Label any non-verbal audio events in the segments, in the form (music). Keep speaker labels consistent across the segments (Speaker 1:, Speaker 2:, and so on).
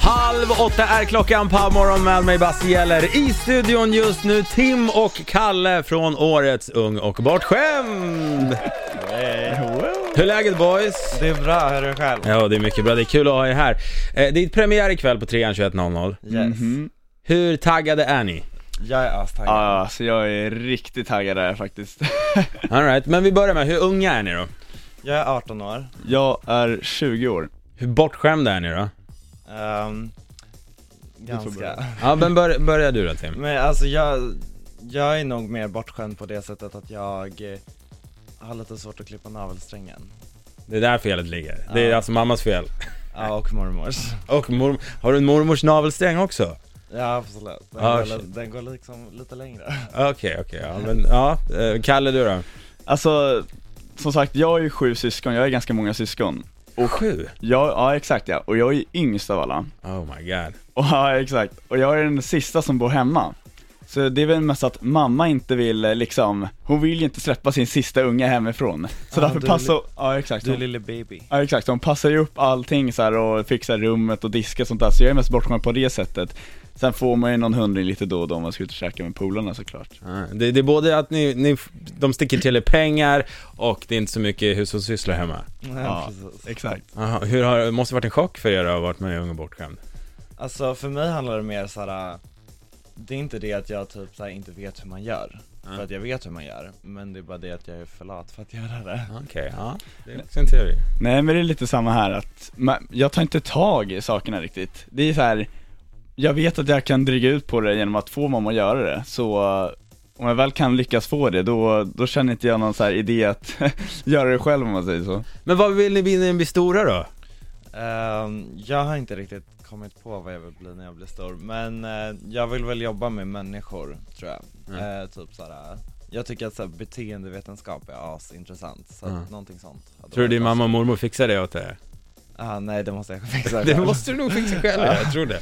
Speaker 1: halv åtta är klockan på morgon med mig Basse Gäller. I studion just nu Tim och Kalle från årets Ung och bortskämd. Hur är läget boys?
Speaker 2: Det är bra, hör du själv?
Speaker 1: Ja det är mycket bra, det är kul att ha er här. Eh, Det är premiär ikväll på 3 21.00.
Speaker 2: Yes.
Speaker 1: Hur taggade är ni?
Speaker 2: Jag är astaggad.
Speaker 3: Ja, ja, så jag är riktigt taggad där faktiskt. (laughs)
Speaker 1: All right, men vi börjar med, hur unga är ni då?
Speaker 2: Jag är 18 år.
Speaker 3: Jag är 20 år.
Speaker 1: Hur bortskämda är ni då?
Speaker 2: Ehm,
Speaker 3: börja.
Speaker 2: ganska.
Speaker 1: Ja men bör, börja du då Tim.
Speaker 2: (laughs) Men alltså jag, jag är nog mer bortskämd på det sättet att jag eh, har lite svårt att klippa navelsträngen.
Speaker 1: Det är där felet ligger. Det är
Speaker 2: Ja.
Speaker 1: alltså mammas fel.
Speaker 2: Ja, och (laughs) mormors.
Speaker 1: Och morm- har du en mormors navelsträng också?
Speaker 2: Ja, absolut. Den,
Speaker 1: Ah,
Speaker 2: går,
Speaker 1: shit.
Speaker 2: li- den går liksom lite längre.
Speaker 1: Okej, okej, ja men ja, Eh, Kalle du då?
Speaker 3: Alltså, som sagt, jag är ju sju syskon, jag är ganska många syskon. Och
Speaker 1: Sju?
Speaker 3: jag, ja exakt ja, och jag är yngst av alla. (laughs)
Speaker 1: Oh my god.
Speaker 3: Och, ja exakt, och jag är den sista som bor hemma. Så det är väl mest att mamma inte vill eh, liksom, hon vill ju inte släppa sin sista unge hemifrån. Så
Speaker 2: Ja,
Speaker 3: därför
Speaker 2: du är
Speaker 3: passar, ja
Speaker 2: (laughs)
Speaker 3: exakt.
Speaker 2: Du är
Speaker 3: Hon,
Speaker 2: lille baby.
Speaker 3: ja exakt, hon passar ju upp allting så här och fixar rummet och diskar och sånt där, så jag är mest bortskämd på det sättet. Sen får man ju någon hundring lite då och då om man ska ut och käka med polarna såklart.
Speaker 1: Ja, Ah, Det, det är både att ni, ni, de sticker till er pengar och det är inte så mycket hushållssysslor hemma.
Speaker 2: (laughs) Ja, precis.
Speaker 3: Exakt.
Speaker 1: Aha, hur har, det måste varit en chock för er att ha varit med i Ung och bortskämd.
Speaker 2: Alltså för mig handlar det mer såhär, det är inte det att jag typ såhär inte vet hur man gör. För att jag vet hur man gör, men det är bara det att jag är för lat för att göra det.
Speaker 1: Okej, ja. Det är också en teori.
Speaker 3: Nej men det är lite samma här att, man, jag tar inte tag i sakerna riktigt. Det är så här. jag vet att jag kan dryga ut på det genom att få mamma att göra det, så eh, om jag väl kan lyckas få det, då, då känner inte jag någon så här idé att (laughs) göra det själv om man säger så.
Speaker 1: Men vad vill ni bli när ni blir stora då?
Speaker 2: Ehm, jag har inte riktigt kommit på vad jag vill bli när jag blir stor, men eh, jag vill väl jobba med människor tror jag.
Speaker 1: Mm.
Speaker 2: Eh, typ såhär, jag tycker att såhär, beteendevetenskap är asintressant, så
Speaker 1: Mm.
Speaker 2: att någonting sånt. hade
Speaker 1: Tror du
Speaker 2: varit
Speaker 1: din
Speaker 2: awesome.
Speaker 1: mamma och mormor fixar det åt dig?
Speaker 2: Ah, nej det måste jag (laughs) fixa
Speaker 1: Det
Speaker 2: själv.
Speaker 1: måste du nog fixa själv, jag tror det.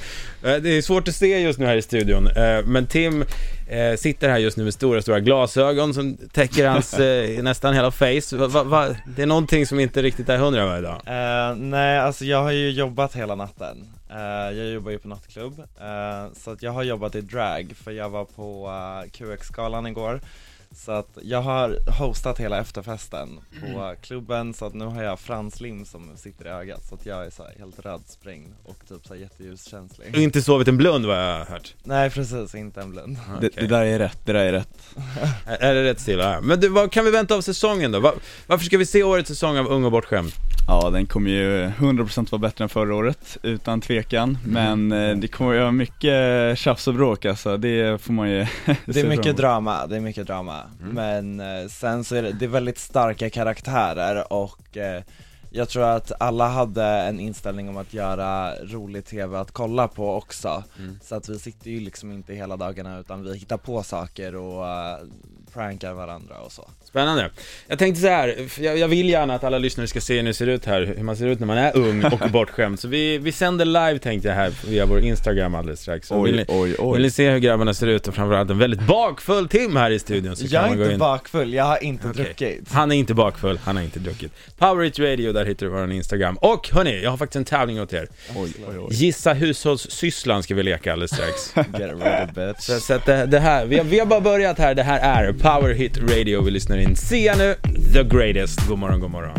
Speaker 1: Eh, Det är svårt att se just nu här i studion, eh, men Tim eh, sitter här just nu med stora, stora glasögon som täcker (laughs) hans eh, nästan hela face. Va, va, va? Det är någonting som inte riktigt är hundra varje dag.
Speaker 2: Eh, nej, alltså jag har ju jobbat hela natten. Eh, jag jobbar ju på nattklubb, eh, så att jag har jobbat i drag för jag var på eh, QX-galan igår. Så att jag har hostat hela efterfesten på eh, klubben så att nu har jag franslim som sitter i ögat så att jag är så här helt rödsprängd och typ så här jätteljuskänslig.
Speaker 1: Och inte sovit en blund vad jag har hört.
Speaker 2: Nej precis, inte en blund.
Speaker 1: Okej.
Speaker 3: där är rätt, det där är rätt.
Speaker 1: Är är det rätt stil? Ja. Men du, vad kan vi vänta av säsongen då? Va, varför ska vi se årets säsong av Ung och bortskämd?
Speaker 3: Ja, den kommer ju 100% vara bättre än förra året, utan tvekan.
Speaker 1: Mm.
Speaker 3: Men eh, det kommer ju vara mycket tjafs och bråk alltså, det får man ju (laughs)
Speaker 2: Det är mycket drama, det är mycket drama. Men eh, sen så är det, det är väldigt starka karaktärer och eh, jag tror att alla hade en inställning om att göra rolig TV att kolla på också. Så att vi sitter ju liksom inte hela dagarna utan vi hittar på saker och eh, prankar varandra och så.
Speaker 1: Spännande. Jag tänkte så här, för jag, jag vill gärna att alla lyssnare ska se hur ni ser ut här, hur man ser ut när man är ung och bortskämd. Så vi, vi sänder live tänkte jag här via vår Instagram alldeles strax. Så vill ni-
Speaker 3: Oj, oj,
Speaker 1: Vill
Speaker 3: oj.
Speaker 1: ni se hur grabbarna ser ut och framförallt en väldigt bakfull Tim här i studion så
Speaker 2: Jag
Speaker 1: kan
Speaker 2: är
Speaker 1: man gå
Speaker 2: inte
Speaker 1: in
Speaker 2: bakfull, jag har inte
Speaker 1: Okej. (laughs)
Speaker 2: druckit.
Speaker 1: Han är inte bakfull, han har inte druckit Powerage Radio, där hittar du våran Instagram Och hörni, jag har faktiskt en tävling åt er
Speaker 3: Oj, oj, oj.
Speaker 1: Gissa hushållssysslan ska vi leka alldeles
Speaker 2: (laughs)
Speaker 1: strax
Speaker 2: Get rid of bitch.
Speaker 1: Så, så att det, det här, vi har, vi har bara börjat här, det här är Power Hit Radio Vi lyssnar in Sia nu, the greatest God morgon, god morgon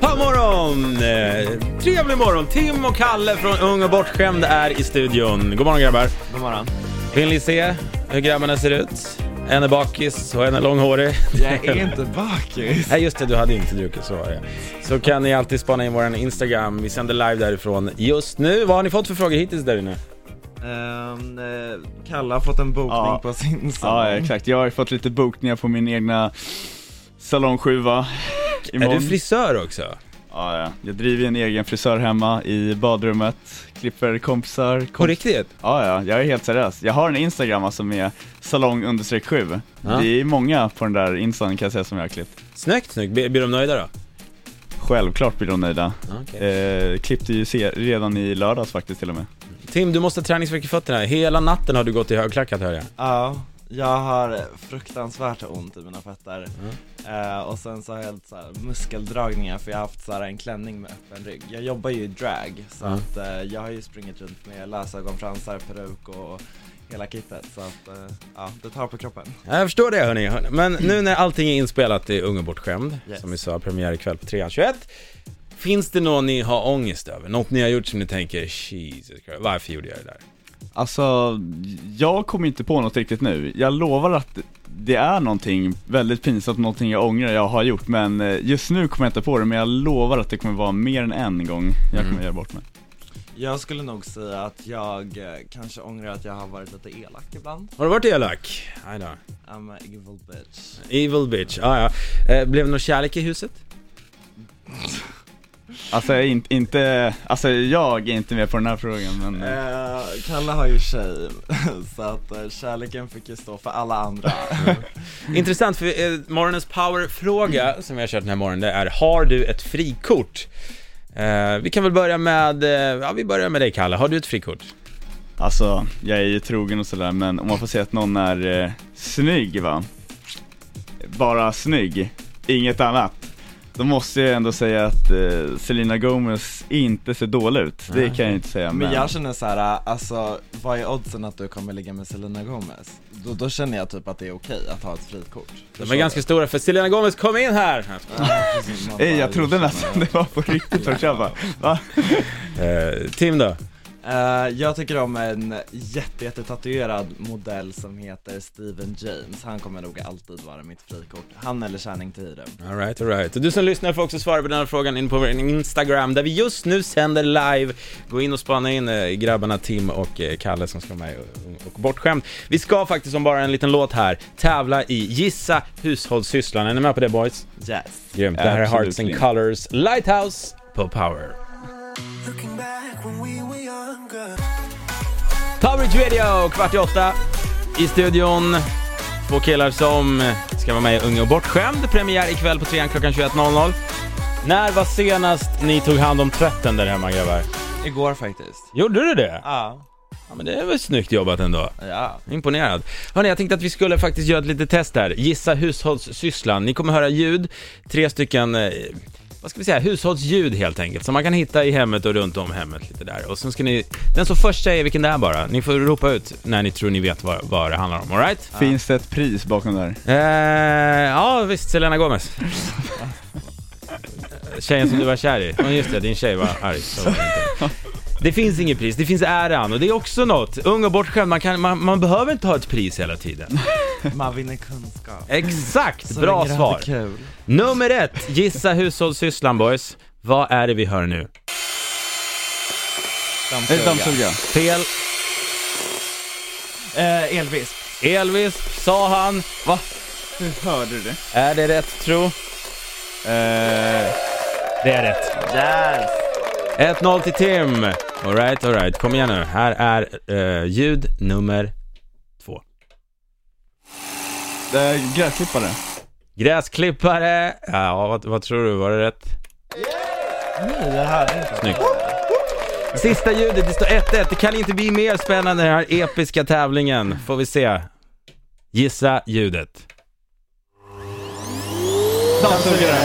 Speaker 1: God morgon! Eh, trevlig morgon! Tim och Kalle från Ung och Bortskämd är i studion God morgon grabbar!
Speaker 2: God morgon.
Speaker 1: Vill ni se hur grabbarna ser ut? En är bakis och en är långhårig.
Speaker 2: Jag är inte
Speaker 1: (laughs)
Speaker 2: bakis.
Speaker 1: Nej just det, du hade inte druckit så var det. Så kan ni alltid spana in våran Instagram, vi sänder live därifrån just nu. Vad har ni fått för frågor hittills där inne?
Speaker 2: Ehm, eh, Kalle har fått en bokning
Speaker 3: Ja.
Speaker 2: på sin
Speaker 3: Ja,
Speaker 2: salong.
Speaker 3: exakt. Jag har ju fått lite bokningar på min egna salongsjuva
Speaker 1: (laughs)
Speaker 3: imorgon.
Speaker 1: Är du frisör också?
Speaker 3: Ja, ja. Jag driver ju en egen frisör hemma i badrummet, klipper kompisar. Komp-
Speaker 1: På riktigt?
Speaker 3: Ja, ja, jag är helt seriös. Jag har en Instagram alltså med salong understreck 7.
Speaker 1: Ja.
Speaker 3: Det är många på den där instan kan jag säga som jag har klippt.
Speaker 1: Snyggt, snyggt. Blir blir de nöjda då?
Speaker 3: Självklart blir de nöjda.
Speaker 1: Okej.
Speaker 3: Eh, klippte ju se- redan i lördags faktiskt till och med.
Speaker 1: Tim, du måste ha träningsvärk i fötterna. Hela natten har du gått i högklackat hör jag.
Speaker 2: Ja, Jag har fruktansvärt ont i mina fötter eh, och sen så har jag helt så här muskeldragningar för jag har haft så här en klänning med öppen rygg. Jag jobbar ju i drag så
Speaker 1: Mm.
Speaker 2: att eh, jag har ju sprungit runt med lösögonfransar, peruk och hela kittet så att eh, ja, det tar på kroppen.
Speaker 1: Ja, Jag förstår det hörni, men nu när allting är inspelat i Unge bortskämd,
Speaker 2: Yes.
Speaker 1: som vi sa, premiär ikväll på 3.21 Finns det något ni har ångest över? Något ni har gjort som ni tänker, Jesus Christ, varför gjorde jag det där?
Speaker 3: Alltså, jag kommer inte på något riktigt nu. Jag lovar att det är någonting väldigt pinsamt, någonting jag ångrar jag har gjort, men eh, just nu kommer jag inte på det, men jag lovar att det kommer vara mer än en gång jag
Speaker 1: Mm.
Speaker 3: kommer göra bort mig.
Speaker 2: Jag skulle nog säga att jag eh, kanske ångrar att jag har varit lite elak ibland.
Speaker 1: Har du varit elak? Nej då.
Speaker 2: I'm a evil bitch.
Speaker 1: Evil bitch, ah, ja. eh, Blev det någon kärlek i huset?
Speaker 3: Alltså, jag är inte, inte, alltså jag är inte med på den här frågan, men... eh,
Speaker 2: Eh, Kalle har ju tjej, (laughs) så att eh, kärleken fick ju stå för alla andra.
Speaker 1: Intressant, för eh, morgonens powerfråga som vi har kört den här morgonen, det är Har du ett frikort? Eh, vi kan väl börja med, eh, ja vi börjar med dig Kalle, har du ett frikort?
Speaker 3: Alltså, jag är ju trogen och sådär, men om man får säga att någon är eh, snygg va? Bara snygg, inget annat. Då måste jag ändå säga att eh, Selena Gomez inte ser dålig ut. Det
Speaker 1: Nej.
Speaker 3: kan jag inte säga, men...
Speaker 2: Men jag känner så här, eh, alltså vad är oddsen att du kommer ligga med Selena Gomez? Då, då känner jag typ att det är okej att ha ett frikort.
Speaker 1: De är ganska stora, för Selena Gomez kom in här!
Speaker 3: (laughs) Ey, Eh, jag trodde nästan det var på riktigt först, jag bara, va?
Speaker 1: Eh, Tim då?
Speaker 2: Eh, jag tycker om en jätte, jätte tatuerad modell som heter Steven James. Han kommer nog alltid vara mitt frikort. Han eller Channing Tatum.
Speaker 1: Alright, alright. Och du som lyssnar får också svara på den här frågan in på vår Instagram, där vi just nu sänder live. Gå in och spana in eh, grabbarna Tim och eh, Kalle som ska vara med och, och bortskämt. Vi ska faktiskt om bara en liten låt här tävla i Gissa hushållssysslan. Är ni med på det boys?
Speaker 2: Yes.
Speaker 1: Grymt. Det här är
Speaker 3: Absolut,
Speaker 1: Hearts and
Speaker 3: Lin.
Speaker 1: Colors Lighthouse på Power.
Speaker 4: Looking back when we were younger.
Speaker 1: Power Radio, kvart i åtta i studion. Två killar som ska vara med i Unga och bortskämd. Premiär ikväll på trean klockan 21.00. När var senast ni tog hand om tvätten där hemma grabbar?
Speaker 2: Igår faktiskt.
Speaker 1: Gjorde du det?
Speaker 2: Ja.
Speaker 1: Ja, men det är väl snyggt jobbat ändå.
Speaker 2: Ja.
Speaker 1: Imponerad. Hörni, jag tänkte att vi skulle faktiskt göra ett litet test här. Gissa hushållssysslan. Ni kommer höra ljud, tre stycken, eh, vad ska vi säga, hushållsljud helt enkelt, som man kan hitta i hemmet och runt om hemmet lite där. Och sen ska ni, den som först säger vilken det är bara, ni får ropa ut när ni tror ni vet vad, vad det handlar om, alright?
Speaker 3: Finns det ett pris bakom där?
Speaker 1: Eh, ja visst, Selena Gomez. (laughs) Tjejen som du var kär i. Oh, just det, din tjej var arg. Så var det, inte. det finns inget pris, det finns äran och det är också något. Ung och bortskämd, man, kan, man, man behöver inte ha ett pris hela tiden.
Speaker 2: Man vinner kunskap.
Speaker 1: Exakt, (laughs) bra svar.
Speaker 2: Kul.
Speaker 1: Nummer ett, gissa hushållssysslan boys. Vad är det vi hör nu?
Speaker 3: Ett dammsuga.
Speaker 1: Fel,
Speaker 2: Eh, elvisp.
Speaker 1: Elvis, sa han. Va?
Speaker 3: Hur hörde du det?
Speaker 1: Är det rätt tro?
Speaker 3: Eh,
Speaker 1: Det är rätt.
Speaker 2: Yes.
Speaker 1: 1-0 till Tim. Alright, alright, kom igen nu. Här är eh, ljud nummer två.
Speaker 3: det är gräsklippare.
Speaker 1: Gräsklippare. Ja, vad, vad tror du? Var det rätt?
Speaker 2: Nej, jag hörde inte.
Speaker 1: Snyggt. Sista ljudet, det står 1-1. Det kan inte bli mer spännande den här episka tävlingen. Får vi se. Gissa ljudet.
Speaker 3: Dammsugare.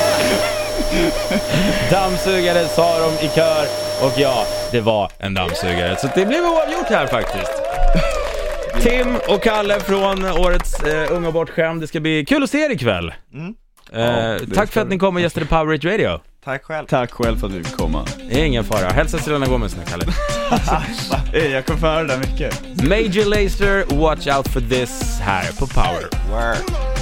Speaker 1: (laughs) Dammsugare sa de i kör och ja, det var en dammsugare. Så det blev oavgjort här faktiskt. Tim och Kalle från årets eh, Unga och bortskämd. Det ska bli kul att se er ikväll.
Speaker 2: Mm.
Speaker 1: Eh,
Speaker 3: det
Speaker 1: tack för
Speaker 3: ska
Speaker 1: att ni kom och gästade Power Rate Radio.
Speaker 2: Tack själv.
Speaker 3: Tack själv för att vi fick komma.
Speaker 1: Det är ingen fara. Hälsa Selena Gomez nu, Kalle.
Speaker 3: Ey, Eh, jag kommer få höra det där mycket.
Speaker 1: Major Lazer, Watch Out For This här på Power.
Speaker 2: Work.